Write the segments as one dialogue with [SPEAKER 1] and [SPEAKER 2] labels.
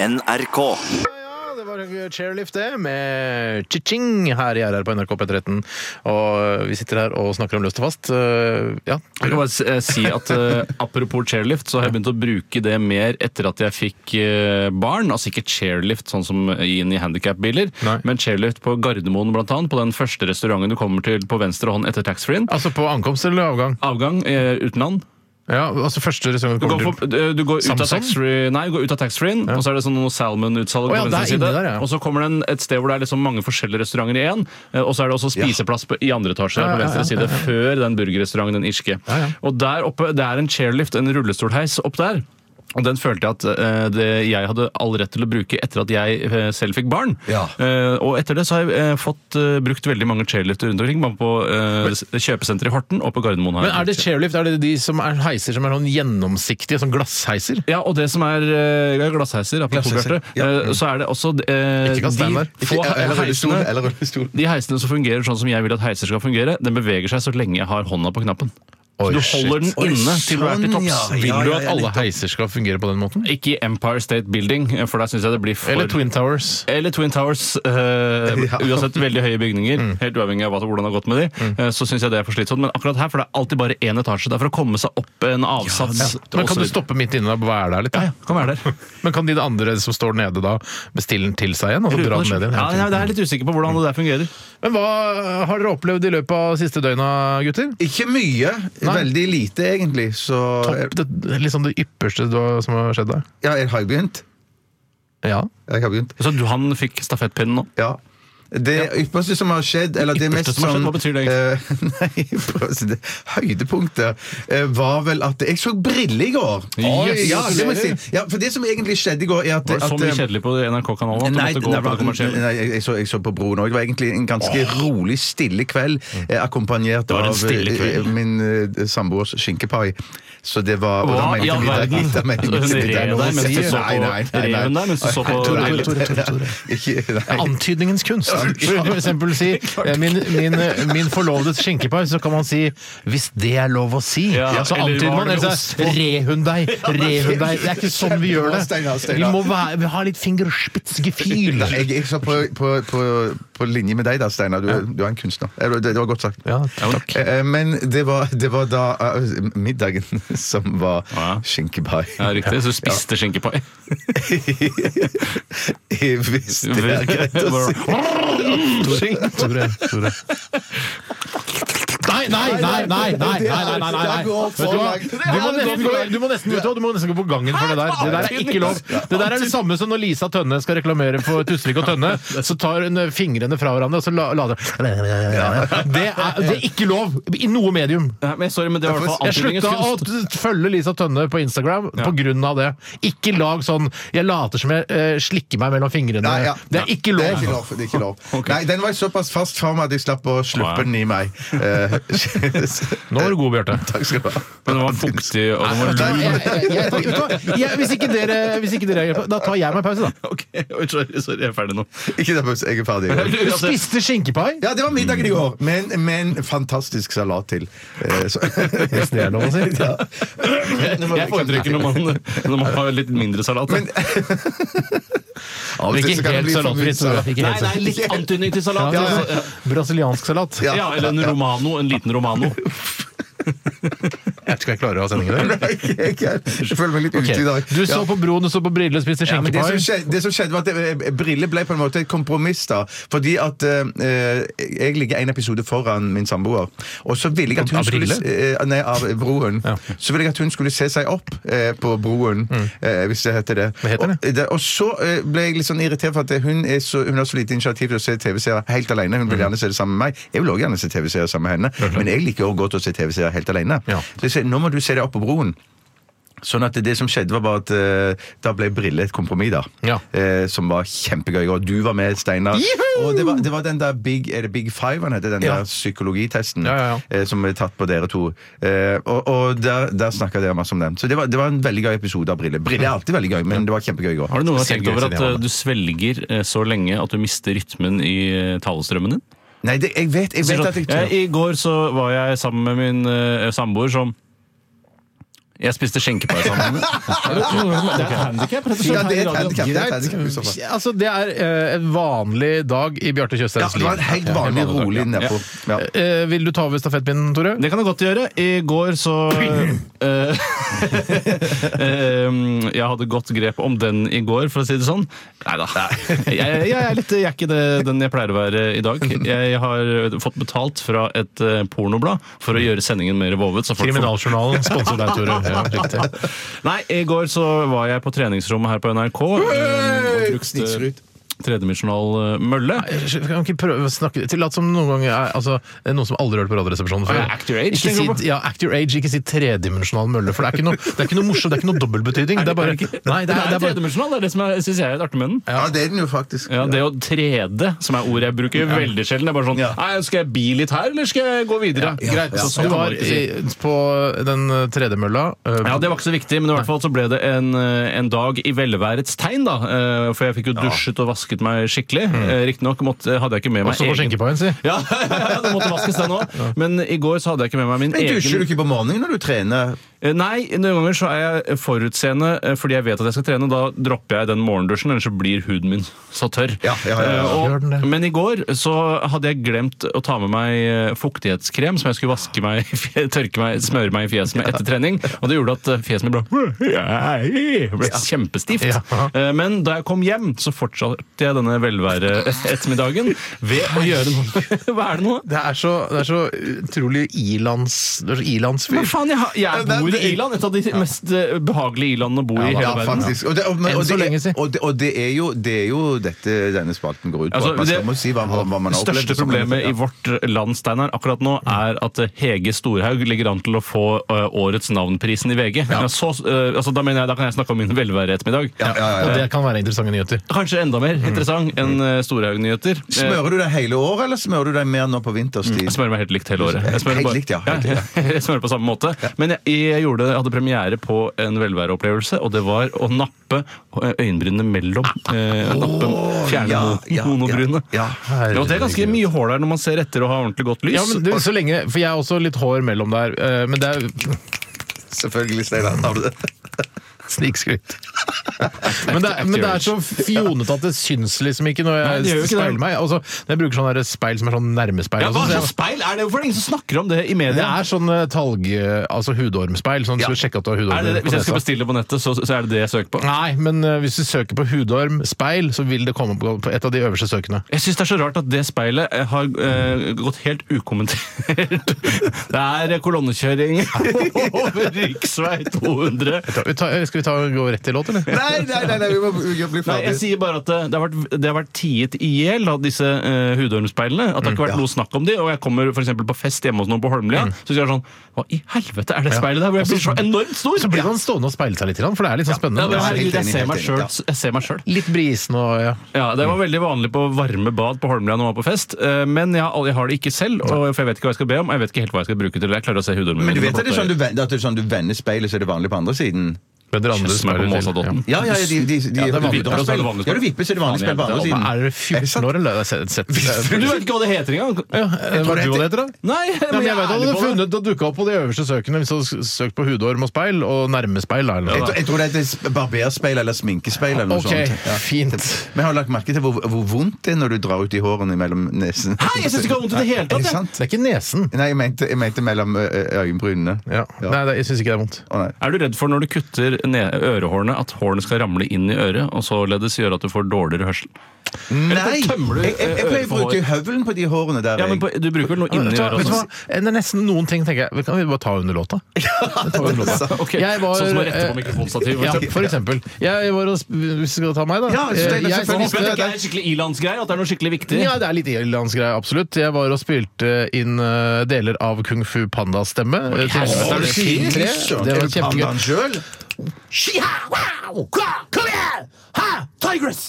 [SPEAKER 1] NRK.
[SPEAKER 2] Ja, det var Chairlift, det, med chi-ching her i RR på NRK P13. Og vi sitter her og snakker om løst og fast. Eh, Ja.
[SPEAKER 3] Jeg kan bare s- eh, si at eh, Apropos chairlift, så har jeg begynt å bruke det mer etter at jeg fikk eh, barn. Altså ikke chairlift sånn som inn i handikapbiler,
[SPEAKER 2] Nei.
[SPEAKER 3] men chairlift på Gardermoen blant annet. På den første restauranten du kommer til på venstre hånd etter taxfree-en.
[SPEAKER 2] Altså på ankomst eller avgang?
[SPEAKER 3] Avgang eh, utenland.
[SPEAKER 2] Ja, altså første restaurant du
[SPEAKER 3] Du går,
[SPEAKER 2] kommer
[SPEAKER 3] for,
[SPEAKER 2] til.
[SPEAKER 3] eh, du går ut av
[SPEAKER 2] Samsung?
[SPEAKER 3] taxfree Nei, du går ut av taxfree-en, og så er det sånn noe salmon-utsalg
[SPEAKER 2] Å ja, det er
[SPEAKER 3] på venstre side.
[SPEAKER 2] inne der, ja.
[SPEAKER 3] Og så kommer det en, et sted hvor det er liksom mange forskjellige restauranter i én, eh, og så er det også spiseplass på, i andre etasje
[SPEAKER 2] Ja,
[SPEAKER 3] der på
[SPEAKER 2] ja,
[SPEAKER 3] venstre
[SPEAKER 2] ja,
[SPEAKER 3] side, før den burgerrestauranten, den irske.
[SPEAKER 2] Ja, ja.
[SPEAKER 3] Og der oppe, det er en chairlift, en rullestolheis opp der. Og den følte jeg at eh, det jeg hadde all rett til å bruke etter at jeg eh, selv fikk barn.
[SPEAKER 1] Ja.
[SPEAKER 3] Eh, og etter det så har jeg eh, fått eh, brukt veldig mange chairlifter rundt omkring, bare på eh, s- kjøpesenteret i Horten og på Gardermoen. har
[SPEAKER 2] Men
[SPEAKER 3] jeg
[SPEAKER 2] er det
[SPEAKER 3] brukt.
[SPEAKER 2] chairlift? Er det de som er heiser som er sånn gjennomsiktige, sånn glassheiser?
[SPEAKER 3] Ja, og det som er eh, glassheiser, apropos
[SPEAKER 1] Glassheiser,
[SPEAKER 3] Bjarte,
[SPEAKER 1] ja.
[SPEAKER 3] eh, så er det også eh,
[SPEAKER 2] Mm. Ikke kast stein der.
[SPEAKER 3] de få
[SPEAKER 1] eller rullestol.
[SPEAKER 3] heisene
[SPEAKER 1] Eller rullestol.
[SPEAKER 3] de heisene som fungerer sånn som jeg vil at heiser skal fungere, den beveger seg så lenge jeg har hånda på knappen.
[SPEAKER 2] Oi,
[SPEAKER 3] Så du
[SPEAKER 2] shit.
[SPEAKER 3] holder den
[SPEAKER 1] Oi,
[SPEAKER 3] inne til du er til
[SPEAKER 1] sånn,
[SPEAKER 3] topps.
[SPEAKER 1] ja.
[SPEAKER 2] Vil du
[SPEAKER 1] ja,
[SPEAKER 2] at
[SPEAKER 1] ja,
[SPEAKER 2] alle
[SPEAKER 1] nettopp.
[SPEAKER 2] heiser skal fungere på den måten?
[SPEAKER 3] Ikke i Empire State Building, for der syns jeg det blir for
[SPEAKER 2] Eller Twin Towers?
[SPEAKER 3] eller Twin Towers. eh, Uansett veldig høye bygninger,
[SPEAKER 2] Mm.
[SPEAKER 3] helt uavhengig av hva- hvordan det har gått med de, eh, så syns jeg det er for slitsomt. Men akkurat her, for det er alltid bare én etasje. Det er for å komme seg opp en avsats.
[SPEAKER 2] Men kan
[SPEAKER 3] og så
[SPEAKER 2] du
[SPEAKER 3] videre.
[SPEAKER 2] stoppe midt inne og være der litt? da?
[SPEAKER 3] Ja, ja, kan være der.
[SPEAKER 2] Men kan de andre som står nede da, bestille den til seg igjen? Og så dra den ned igjen?
[SPEAKER 3] Ja, jeg er litt usikker på hvordan det der fungerer.
[SPEAKER 2] Men hva har dere opplevd i løpet av siste døgna, gutter?
[SPEAKER 4] Ikke mye.
[SPEAKER 2] Nei.
[SPEAKER 4] Veldig lite, egentlig. Så
[SPEAKER 2] Topp, det, det er liksom det ypperste du har, som har skjedd deg?
[SPEAKER 4] Ja, jeg har begynt.
[SPEAKER 2] Ja.
[SPEAKER 4] Jeg har begynt.
[SPEAKER 3] Så du, han fikk stafettpinnen nå?
[SPEAKER 4] Ja. Det ypperste som har skjedd, eller det mest
[SPEAKER 3] Ypperste som har skjedd,
[SPEAKER 4] sånn
[SPEAKER 3] hva betyr det
[SPEAKER 4] egentlig? nei, prøv å si det. Høydepunktet eh, var vel at jeg så briller i går!
[SPEAKER 3] Oi,
[SPEAKER 4] ja, det må jeg
[SPEAKER 2] gratulerer.
[SPEAKER 4] si. Ja, for det som egentlig skjedde i går, er at
[SPEAKER 3] Var det så
[SPEAKER 4] at,
[SPEAKER 3] mye
[SPEAKER 4] eh,
[SPEAKER 3] kjedelig på NRK-kanalen at du
[SPEAKER 4] Nei,
[SPEAKER 3] måtte gå
[SPEAKER 4] nei,
[SPEAKER 3] på det kommersielle?
[SPEAKER 4] nei, jeg, jeg, så, jeg så på broen òg. Det var egentlig en ganske rolig, stille kveld, eh, akkompagnert
[SPEAKER 3] Mm. Det var en
[SPEAKER 4] av
[SPEAKER 3] stille
[SPEAKER 4] eh,
[SPEAKER 3] kveld.
[SPEAKER 4] min eh, samboers skinkepai. Så det var og da
[SPEAKER 3] Hva
[SPEAKER 4] mente
[SPEAKER 3] i all
[SPEAKER 4] vi det-
[SPEAKER 3] verden? Altså,
[SPEAKER 4] da mente vi
[SPEAKER 3] Hun
[SPEAKER 4] det- det er
[SPEAKER 3] rev
[SPEAKER 4] noe
[SPEAKER 3] deg
[SPEAKER 4] å
[SPEAKER 3] mens
[SPEAKER 4] si.
[SPEAKER 3] du så på-
[SPEAKER 4] Nei, nei, nei,
[SPEAKER 3] rev hun
[SPEAKER 4] nei.
[SPEAKER 3] deg mens du så på-
[SPEAKER 4] Nei,
[SPEAKER 2] Tore, Tore, Tore, Tore.
[SPEAKER 4] Ikke- nei.
[SPEAKER 2] Antydningens kunst. Skulle du for eksempel si eh, min, min, min forlovede skinkepai, så kan man si 'hvis det er lov å si'.
[SPEAKER 3] Ja,
[SPEAKER 2] så
[SPEAKER 3] eller
[SPEAKER 2] antyder man sånn
[SPEAKER 3] var det
[SPEAKER 2] eller
[SPEAKER 3] ost
[SPEAKER 2] så er Re hun deg, re hun deg. Det er ikke sånn vi gjør det.
[SPEAKER 4] Steinar,
[SPEAKER 2] Vi
[SPEAKER 4] Steinar.
[SPEAKER 2] må være, vi har litt fingerspitzgefühl.
[SPEAKER 4] Nei, Jeg, jeg så på, på, på, på linje med deg da, Steinar. Du, er- du er en kunstner. Eh, Det, det var godt sagt.
[SPEAKER 2] Ja,
[SPEAKER 3] takk.
[SPEAKER 4] Eh, eh, Men det var, det var da eh, middagen som var
[SPEAKER 3] Ja.
[SPEAKER 4] skinkepai.
[SPEAKER 3] Ja, riktig. Så du spiste skinkepai?
[SPEAKER 4] Hvis det er greit å si.
[SPEAKER 2] Tore, Tore, Tore. Nei, nei, nei, nei! nei, nei, nei, nei, nei, nei.
[SPEAKER 4] Det går for
[SPEAKER 2] Vet du hva?
[SPEAKER 4] langt.
[SPEAKER 2] Du må nesten gå, du må nesten, vet du hva, du må nesten gå på gangen for det der. Det der er ikke lov. Det der er det samme som når Lisa Tønne skal reklamere for Tusvik og Tønne. Så tar hun eh, fingrene fra hverandre, og så la- lader hun det, er- det er ikke lov! I noe medium.
[SPEAKER 3] Nei, men sorry, men det var i hvert fall
[SPEAKER 2] Jeg
[SPEAKER 3] antydningens
[SPEAKER 2] slutta å
[SPEAKER 3] kunst.
[SPEAKER 2] t- følge Lisa Tønne på Instagram
[SPEAKER 3] Ja.
[SPEAKER 2] på grunn av det. Ikke lag sånn 'jeg later som jeg eh, slikker meg mellom fingrene'.
[SPEAKER 4] Nei, ja.
[SPEAKER 2] Det er ikke
[SPEAKER 4] Det
[SPEAKER 2] lov!
[SPEAKER 4] er ikke lov. Det er ikke lov. Nei, den var såpass fast for meg at jeg slapp å sluppe den i meg. Eh,
[SPEAKER 2] Nå var du god, Bjarte.
[SPEAKER 4] Takk skal du ha.
[SPEAKER 3] Men det var fuktig, og det var
[SPEAKER 2] Da-
[SPEAKER 3] lun.
[SPEAKER 2] jeg- jeg- jeg- vet du hva? Jeg- Hvis ikke dere hvis ikke dere er på- Da tar jeg meg pause, da.
[SPEAKER 3] Ok, oi, sorry, sorry, jeg er ferdig nå.
[SPEAKER 4] Ikke ta pause, jeg er ferdig.
[SPEAKER 2] Du
[SPEAKER 4] Altså-
[SPEAKER 3] altså,
[SPEAKER 2] spiste skinkepai.
[SPEAKER 4] Ja, det var middagen i går, men, men fantastisk salat til. Eh, så-
[SPEAKER 2] Hvis det er lov å si.
[SPEAKER 4] Ja.
[SPEAKER 3] Jeg foretrekker når man, når man har litt mindre salat. da.
[SPEAKER 2] Men
[SPEAKER 4] så kan det bli sånn for mye salat.
[SPEAKER 2] Ikke
[SPEAKER 3] Nei,
[SPEAKER 2] helt
[SPEAKER 3] nei,
[SPEAKER 2] salat.
[SPEAKER 3] litt antydning til salat.
[SPEAKER 2] Ja,
[SPEAKER 3] altså.
[SPEAKER 2] ja. Brasiliansk salat. Jeg
[SPEAKER 4] Ja.
[SPEAKER 3] Ja, eller en romano. En liten romano.
[SPEAKER 2] vet ikke om jeg klarer å ha sendingen i dag.
[SPEAKER 4] Jeg, jeg, jeg føler meg litt ute i dag.
[SPEAKER 2] Ok. Du så
[SPEAKER 4] Ja.
[SPEAKER 2] på broen, du så på briller, spiste
[SPEAKER 4] Ja, men det, som
[SPEAKER 2] skinkepai.
[SPEAKER 4] skjedde, det som skjedde var at eh, Brille ble på en måte et kompromiss. da Fordi at eh, jeg ligger en episode foran min samboer. Og så ville jeg at hun
[SPEAKER 2] Av Brille?
[SPEAKER 4] skulle eh, Nei, av Broen.
[SPEAKER 2] Ja. Mm.
[SPEAKER 4] Så ville jeg at hun skulle se seg opp eh, på Broen, eh, hvis det heter det.
[SPEAKER 2] Hva heter det?
[SPEAKER 4] Og, og så eh, ble jeg litt sånn irritert for at hun, er så, hun har så lite initiativ til å se TV-serier helt alene.
[SPEAKER 2] Mm.
[SPEAKER 4] Hun vil gjerne se det sammen med meg. Jeg vil også gjerne se TV-serier sammen med henne. Men jeg liker også godt å se TV-serier helt alene.
[SPEAKER 2] Mhm. Ja.
[SPEAKER 4] Så jeg sier, nå må du se deg opp på Broen. Sånn at det som skjedde var bare at eh, da ble Brille et kompromiss, da.
[SPEAKER 2] Ja.
[SPEAKER 4] Eh, som var kjempegøy. Og du var med, Steinar.
[SPEAKER 2] Juhu!
[SPEAKER 4] Og det var, det var den der Big, er det Big Five han heter, den
[SPEAKER 2] Ja.
[SPEAKER 4] der psykologitesten
[SPEAKER 2] Ja, ja,
[SPEAKER 4] eh, som ble tatt på dere to. Eh, og og der, der snakka dere masse om den. Så det var, det var en veldig gøy episode av Brille. Brille er alltid veldig gøy, men det var kjempegøy i går.
[SPEAKER 3] Har du noen gang
[SPEAKER 2] Spesielt
[SPEAKER 3] tenkt over
[SPEAKER 2] gøy
[SPEAKER 3] at
[SPEAKER 2] siden jeg var
[SPEAKER 3] eh,
[SPEAKER 2] med.
[SPEAKER 3] du svelger eh, så lenge at du mister rytmen i eh, talestrømmen din?
[SPEAKER 4] Nei, det, jeg vet, jeg vet at
[SPEAKER 3] Sånn,
[SPEAKER 4] jeg
[SPEAKER 3] jeg, I går så var jeg sammen med min eh, samboer som eh, Jeg spiste skjenkepai sammen.
[SPEAKER 2] Det er handikap, rett og slett.
[SPEAKER 4] Ja, det
[SPEAKER 2] her i
[SPEAKER 4] er et
[SPEAKER 2] radioen.
[SPEAKER 4] handicap, det er et
[SPEAKER 2] Greit.
[SPEAKER 4] handicap i så fall.
[SPEAKER 2] Altså, det er eh, en vanlig dag i Bjarte
[SPEAKER 4] Ja,
[SPEAKER 2] Tjøstheims
[SPEAKER 4] det var en
[SPEAKER 2] liv.
[SPEAKER 4] helt vanlig, rolig nedpå. Ja.
[SPEAKER 2] Eh, Vil du ta over stafettpinnen, Tore?
[SPEAKER 3] Det kan jeg godt gjøre. I går så eh, eh, Jeg hadde godt grep om den i går, for å si det sånn. Nei da. Jeg, jeg, er litt, jeg er ikke det, den jeg pleier å være i dag. Jeg har fått betalt fra et eh, pornoblad for å gjøre sendingen mer vovet. så folk får-
[SPEAKER 2] Kriminaljournalen sponser deg, Tore. Ja, riktig.
[SPEAKER 3] Nei, i går så var jeg på treningsrommet her på NRK. eh, og brukte
[SPEAKER 4] Snikskryt.
[SPEAKER 3] tredimensjonal eh, mølle.
[SPEAKER 2] Kan ikke prøve å snakke til at som noen ganger er altså, er noen som aldri har hørt på Radioresepsjonen før.
[SPEAKER 3] Å, ja, act your age, liksom.
[SPEAKER 2] ikke
[SPEAKER 3] tenker du
[SPEAKER 2] si, ja, act your age, ikke si tredimensjonal mølle, for det er ikke noe, det er ikke noe morsomt, det er ikke noe dobbeltbetydning. Det er bare, nei, det er, det er bare
[SPEAKER 3] tredimensjonal, det er det som jeg syns jeg er litt artig med den.
[SPEAKER 4] Ja, det er den jo faktisk.
[SPEAKER 3] Ja, Det å trede, som er ordet jeg bruker veldig sjelden. Det er bare sånn
[SPEAKER 4] Ja.
[SPEAKER 3] Nei, skal jeg bi litt her, eller skal jeg gå videre? Greit.
[SPEAKER 2] Greit.
[SPEAKER 3] Så,
[SPEAKER 2] Du
[SPEAKER 3] sånn kan
[SPEAKER 2] var
[SPEAKER 3] man ikke si.
[SPEAKER 2] i- på den eh, tredemølla. eh,
[SPEAKER 3] Ja, Det var ikke så viktig, men i hvert fall så ble det en, eh, en dag i velværets tegn. da, eh, For jeg fikk jo dusjet og vasket meg skikkelig.
[SPEAKER 2] Mm.
[SPEAKER 3] Eh, Riktignok måtte- hadde jeg ikke med meg
[SPEAKER 2] Også på skjenkepaien, si.
[SPEAKER 3] Ja, det måtte vaskes den òg. Men i går så hadde jeg ikke med meg min
[SPEAKER 4] Men
[SPEAKER 3] egen
[SPEAKER 4] dusjer du ikke på morgenen når du trener?
[SPEAKER 3] Eh, Nei, noen ganger så er jeg forutseende eh, fordi jeg vet at jeg skal trene. Da dropper jeg den morgendusjen, ellers så blir huden min så tørr.
[SPEAKER 4] Ja, ja, ja, ja.
[SPEAKER 3] Eh,
[SPEAKER 2] Gjør den det?
[SPEAKER 3] Og, men i går så hadde jeg glemt å ta med meg eh, fuktighetskrem som jeg skulle vaske meg, i fje- tørke meg, smøre meg i fjeset med etter trening. Og det gjorde at eh, fjeset mitt ble, ble kjempestivt.
[SPEAKER 2] Ja.
[SPEAKER 3] Eh, Men da jeg kom hjem, så fortsatte jeg denne velvære-ettermiddagen ved å gjøre noe. Hva er det nå?
[SPEAKER 2] Det er så, det er så utrolig ilands, det er så ilandsfyr.
[SPEAKER 3] Men faen, jeg, har- jeg
[SPEAKER 4] det-
[SPEAKER 3] bor i
[SPEAKER 4] det-
[SPEAKER 3] Irland, et av de mest eh, behagelige i-landene å bo i i hele
[SPEAKER 4] Ja,
[SPEAKER 3] verden.
[SPEAKER 4] faktisk. Og det, og, men-
[SPEAKER 2] Enn
[SPEAKER 4] og
[SPEAKER 2] så
[SPEAKER 4] det,
[SPEAKER 2] lenge siden.
[SPEAKER 4] er- og det, og det, er, jo, det er jo dette denne spalten går ut på.
[SPEAKER 3] Altså,
[SPEAKER 4] at man skal
[SPEAKER 3] det-
[SPEAKER 4] må si hva, hva man
[SPEAKER 3] Det
[SPEAKER 4] har opplevd.
[SPEAKER 3] største problemet i vårt land Steinar, akkurat nå
[SPEAKER 4] Mm.
[SPEAKER 3] er at eh, Hege Storhaug ligger an til å få eh, årets navnprisen i VG. Ja, så, eh, altså, da, mener jeg, da kan jeg snakke om min velværeettermiddag.
[SPEAKER 4] Ja, Mm. ja, ja,
[SPEAKER 2] Og
[SPEAKER 4] ja.
[SPEAKER 2] det kan være interessante nyheter.
[SPEAKER 3] Kanskje enda mer interessant enn eh, Storhaug-nyheter. Eh,
[SPEAKER 4] Smører du deg hele året, eller smører du deg mer nå på vinterstid?
[SPEAKER 3] Jeg smører meg helt likt hele året. Jeg smører,
[SPEAKER 4] Helt likt, ja. Helt
[SPEAKER 3] jeg smører på samme måte. Men jeg, jeg, gjorde, jeg hadde premiere på en velværeopplevelse, og det var å nappe øyenbrynene mellom. Eh, nappe, fjerne
[SPEAKER 4] Ah. ja,
[SPEAKER 3] mo-
[SPEAKER 4] ja,
[SPEAKER 3] monobrynet.
[SPEAKER 4] ja,
[SPEAKER 3] Ja, og det er ganske mye hår der når man ser etter og har ordentlig godt lys.
[SPEAKER 2] Ja, men du, så lenge, For jeg har også litt hår mellom der, eh, men det er
[SPEAKER 4] Selvfølgelig, Steinar. Har du det?
[SPEAKER 2] Snikskryt. men, det, er- men det er så fjonete at det syns liksom ikke når
[SPEAKER 3] Nei,
[SPEAKER 2] jeg
[SPEAKER 3] det gjør jo ikke det.
[SPEAKER 2] speiler meg. Altså, jeg bruker sånn der speil som er sånn nærmespeil.
[SPEAKER 3] Ja,
[SPEAKER 2] og
[SPEAKER 3] hva
[SPEAKER 2] sånn, så jeg-
[SPEAKER 3] slags speil er det? Hvorfor er det ingen som snakker om det i
[SPEAKER 2] det
[SPEAKER 3] media?
[SPEAKER 2] er sånn eh, talg... eh, Altså hudormspeil. Sånn, så du sjekker at du har hudorm
[SPEAKER 3] Er det det,
[SPEAKER 2] på
[SPEAKER 3] hvis jeg skal
[SPEAKER 2] nesa.
[SPEAKER 3] bestille på nettet, så, så er det det jeg søker på?
[SPEAKER 2] Nei, men eh, hvis du søker på hudorm speil, så vil det komme på på et av de øverste søkene.
[SPEAKER 3] Jeg syns det er så rart at det speilet eh, har eh, gått helt ukommentert. Det er kolonnekjøring over riksvei 200.
[SPEAKER 2] Vi tar- Skal vi ta, gå rett til låt, eller?
[SPEAKER 4] Nei, nei, nei, nei, vi må vi må bli
[SPEAKER 3] Nei, jeg
[SPEAKER 4] ferdig.
[SPEAKER 3] sier bare at det, det, har, vært, det har vært tiet i hjel av disse uh, hudormspeilene. At det har ikke vært noe snakk om de, og jeg kommer for eksempel på fest hjemme hos noen på Holmlia, så sier jeg sånn Hva i helvete er det speilet der? Hvor jeg blir så enormt stor!
[SPEAKER 2] Så blir man sånn. stående og speile seg litt, i den, for det er litt sånn
[SPEAKER 3] Ja,
[SPEAKER 2] spennende.
[SPEAKER 3] men herregud,
[SPEAKER 4] Helt
[SPEAKER 3] jeg
[SPEAKER 4] enig,
[SPEAKER 3] ser
[SPEAKER 4] helt
[SPEAKER 3] meg
[SPEAKER 4] enig,
[SPEAKER 3] sjøl.
[SPEAKER 4] ja.
[SPEAKER 3] Jeg ser meg sjøl.
[SPEAKER 2] Litt brisen og ja.
[SPEAKER 3] Ja, Det var veldig vanlig på varme bad på Holmlia når man var på fest. eh, Men jeg, har- jeg har det ikke selv, og, for jeg vet ikke hva jeg skal be om. og Jeg vet ikke helt hva jeg skal bruke til. Jeg klarer å se hudormen
[SPEAKER 4] Men du
[SPEAKER 3] min
[SPEAKER 4] vet
[SPEAKER 3] på
[SPEAKER 4] at det er
[SPEAKER 3] godt
[SPEAKER 4] sånn du, vender- at det er sånn du vender speilet, så er det vanlig på andre siden?
[SPEAKER 2] Bedre
[SPEAKER 3] øye. Kjøss meg på
[SPEAKER 2] speiler til.
[SPEAKER 3] Måsadotn.
[SPEAKER 4] Ja, ja, de, de, de,
[SPEAKER 3] det er vanlig.
[SPEAKER 4] de-
[SPEAKER 3] Da er det vanlig spill.
[SPEAKER 4] Ja, du vipper, så er det vanlig spill på andre
[SPEAKER 3] Ja,
[SPEAKER 4] siden.
[SPEAKER 2] Men Er dere
[SPEAKER 4] det
[SPEAKER 2] 14
[SPEAKER 4] sant?
[SPEAKER 2] år, eller? Sett, sett, sett.
[SPEAKER 3] Men Du vet ikke hva det heter engang!
[SPEAKER 2] Ja, eh, Hva
[SPEAKER 4] det
[SPEAKER 2] du hva det
[SPEAKER 4] heter-
[SPEAKER 2] heter, da?
[SPEAKER 3] Nei,
[SPEAKER 2] Ja,
[SPEAKER 3] men
[SPEAKER 2] men jeg vet at
[SPEAKER 3] ærlig
[SPEAKER 2] du
[SPEAKER 3] på det.
[SPEAKER 2] funnet, det dukka opp på de øverste søkene hvis du hadde søkt på hudorm og speil, og nærmespeil. da,
[SPEAKER 4] Jeg
[SPEAKER 2] Eller
[SPEAKER 4] tror,
[SPEAKER 2] noe.
[SPEAKER 4] jeg tror det heter sp- barberspeil eller sminkespeil eller noe
[SPEAKER 2] Ok,
[SPEAKER 4] sånt. Ja.
[SPEAKER 2] fint.
[SPEAKER 4] Men jeg har lagt merke til hvor, hvor vondt det er når du drar ut i hårene mellom nesen.
[SPEAKER 3] Hæ, jeg syns ikke det var vondt i det hele
[SPEAKER 4] Er
[SPEAKER 3] tatt!
[SPEAKER 4] det
[SPEAKER 3] jeg.
[SPEAKER 4] sant?
[SPEAKER 2] Det er ikke nesen.
[SPEAKER 4] Nei, jeg mente, jeg mente mellom ø- ø- øyenbrynene.
[SPEAKER 2] Ja.
[SPEAKER 4] Ja.
[SPEAKER 2] Nei, det, jeg syns ikke det er vondt.
[SPEAKER 4] Å, nei.
[SPEAKER 3] Er du redd for når du kutter ned ørehårene, at hårene skal ramle inn i øret, og således gjøre at du får dårligere hørsel?
[SPEAKER 4] Nei!
[SPEAKER 3] tømmer du
[SPEAKER 4] Jeg, jeg, jeg pleier å
[SPEAKER 3] øret for
[SPEAKER 4] bruke høvelen på de hårene der.
[SPEAKER 3] Ja, men
[SPEAKER 4] jeg.
[SPEAKER 3] på, Du bruker vel noe inni
[SPEAKER 2] Vet du hva-
[SPEAKER 3] øret?
[SPEAKER 2] vet du hva?
[SPEAKER 3] også?
[SPEAKER 2] Det er nesten noen ting tenker jeg Kan vi bare ta under låta?
[SPEAKER 3] Ok,
[SPEAKER 2] Jeg var-
[SPEAKER 3] Sånn som å rette
[SPEAKER 2] eh,
[SPEAKER 3] på mikrofonstativet?
[SPEAKER 2] Ja,
[SPEAKER 3] for eksempel.
[SPEAKER 2] for eksempel. Jeg var og, sp- hvis du skal ta meg, da.
[SPEAKER 4] Ja, så
[SPEAKER 2] Eh,
[SPEAKER 4] det er
[SPEAKER 2] jeg-
[SPEAKER 4] selvfølgelig-
[SPEAKER 3] Håper jeg ikke det er en skikkelig ilandsgreie, at det er noe skikkelig viktig.
[SPEAKER 2] Ja, det er litt irlandsgreie, absolutt. Jeg var og spilte inn eh, deler av Kung Fu Pandas stemme. eh, til Elvenes. Er
[SPEAKER 3] herregud.
[SPEAKER 4] Å,
[SPEAKER 2] det
[SPEAKER 4] fy
[SPEAKER 2] fire?
[SPEAKER 4] søren,
[SPEAKER 2] Det
[SPEAKER 4] er
[SPEAKER 2] var
[SPEAKER 4] du pandaen
[SPEAKER 2] kjempegøy.
[SPEAKER 4] selv?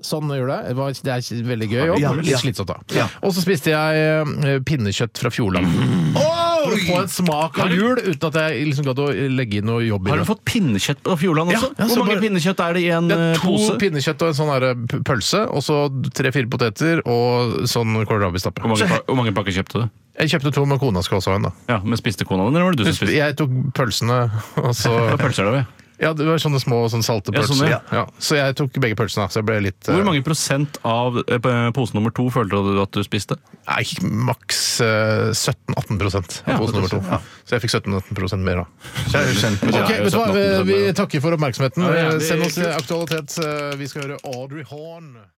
[SPEAKER 2] Sånn gjør det. Det var- Det er veldig gøy
[SPEAKER 4] Ja,
[SPEAKER 2] jobb.
[SPEAKER 4] ja.
[SPEAKER 2] Litt slitsomt, da.
[SPEAKER 4] Ja.
[SPEAKER 2] Og så spiste jeg eh, pinnekjøtt fra Fjordland.
[SPEAKER 4] Å,
[SPEAKER 2] for å få en smak av jul uten at jeg liksom gadd å legge inn noe jobb i
[SPEAKER 3] Har du fått pinnekjøtt på Fjordland også?
[SPEAKER 2] Ja, ja, så
[SPEAKER 3] Hvor mange
[SPEAKER 2] bare-
[SPEAKER 3] pinnekjøtt er det i en
[SPEAKER 2] det er
[SPEAKER 3] eh,
[SPEAKER 2] to
[SPEAKER 3] pose?
[SPEAKER 2] pinnekjøtt og en sånn her, eh, p- pølse, og så tre-fire poteter og sånn kålrabistappe.
[SPEAKER 3] Hvor mange,
[SPEAKER 2] Så
[SPEAKER 3] pa- hvor mange pakker kjøpte du?
[SPEAKER 2] Jeg kjøpte to, men kona skulle også ha en. da.
[SPEAKER 3] Ja, Men spiste kona din, eller var det du som spiste?
[SPEAKER 2] Jeg tok pølsene, og så
[SPEAKER 3] Hva pølser er det ved?
[SPEAKER 2] Ja, det var sånne små sånn salte
[SPEAKER 3] Ja,
[SPEAKER 2] pølser.
[SPEAKER 3] sånne, ja.
[SPEAKER 2] ja. Så jeg tok begge pølsene, så jeg ble litt eh,
[SPEAKER 3] Hvor mange prosent av eh, p- pose nummer to følte du at du spiste?
[SPEAKER 2] Nei, maks eh, 17-18 prosent av
[SPEAKER 3] Ja,
[SPEAKER 2] pose nummer to. Så jeg fikk 17-18 prosent mer, da.
[SPEAKER 4] Kjent.
[SPEAKER 3] Ja,
[SPEAKER 2] Ok,
[SPEAKER 3] jeg er
[SPEAKER 2] vet du hva?
[SPEAKER 3] 17-18%
[SPEAKER 2] Vi
[SPEAKER 3] mer,
[SPEAKER 2] takker for oppmerksomheten.
[SPEAKER 3] Ja, ja, det-
[SPEAKER 2] Send oss eh, aktualitet. Eh, Vi skal høre Audrey Horn.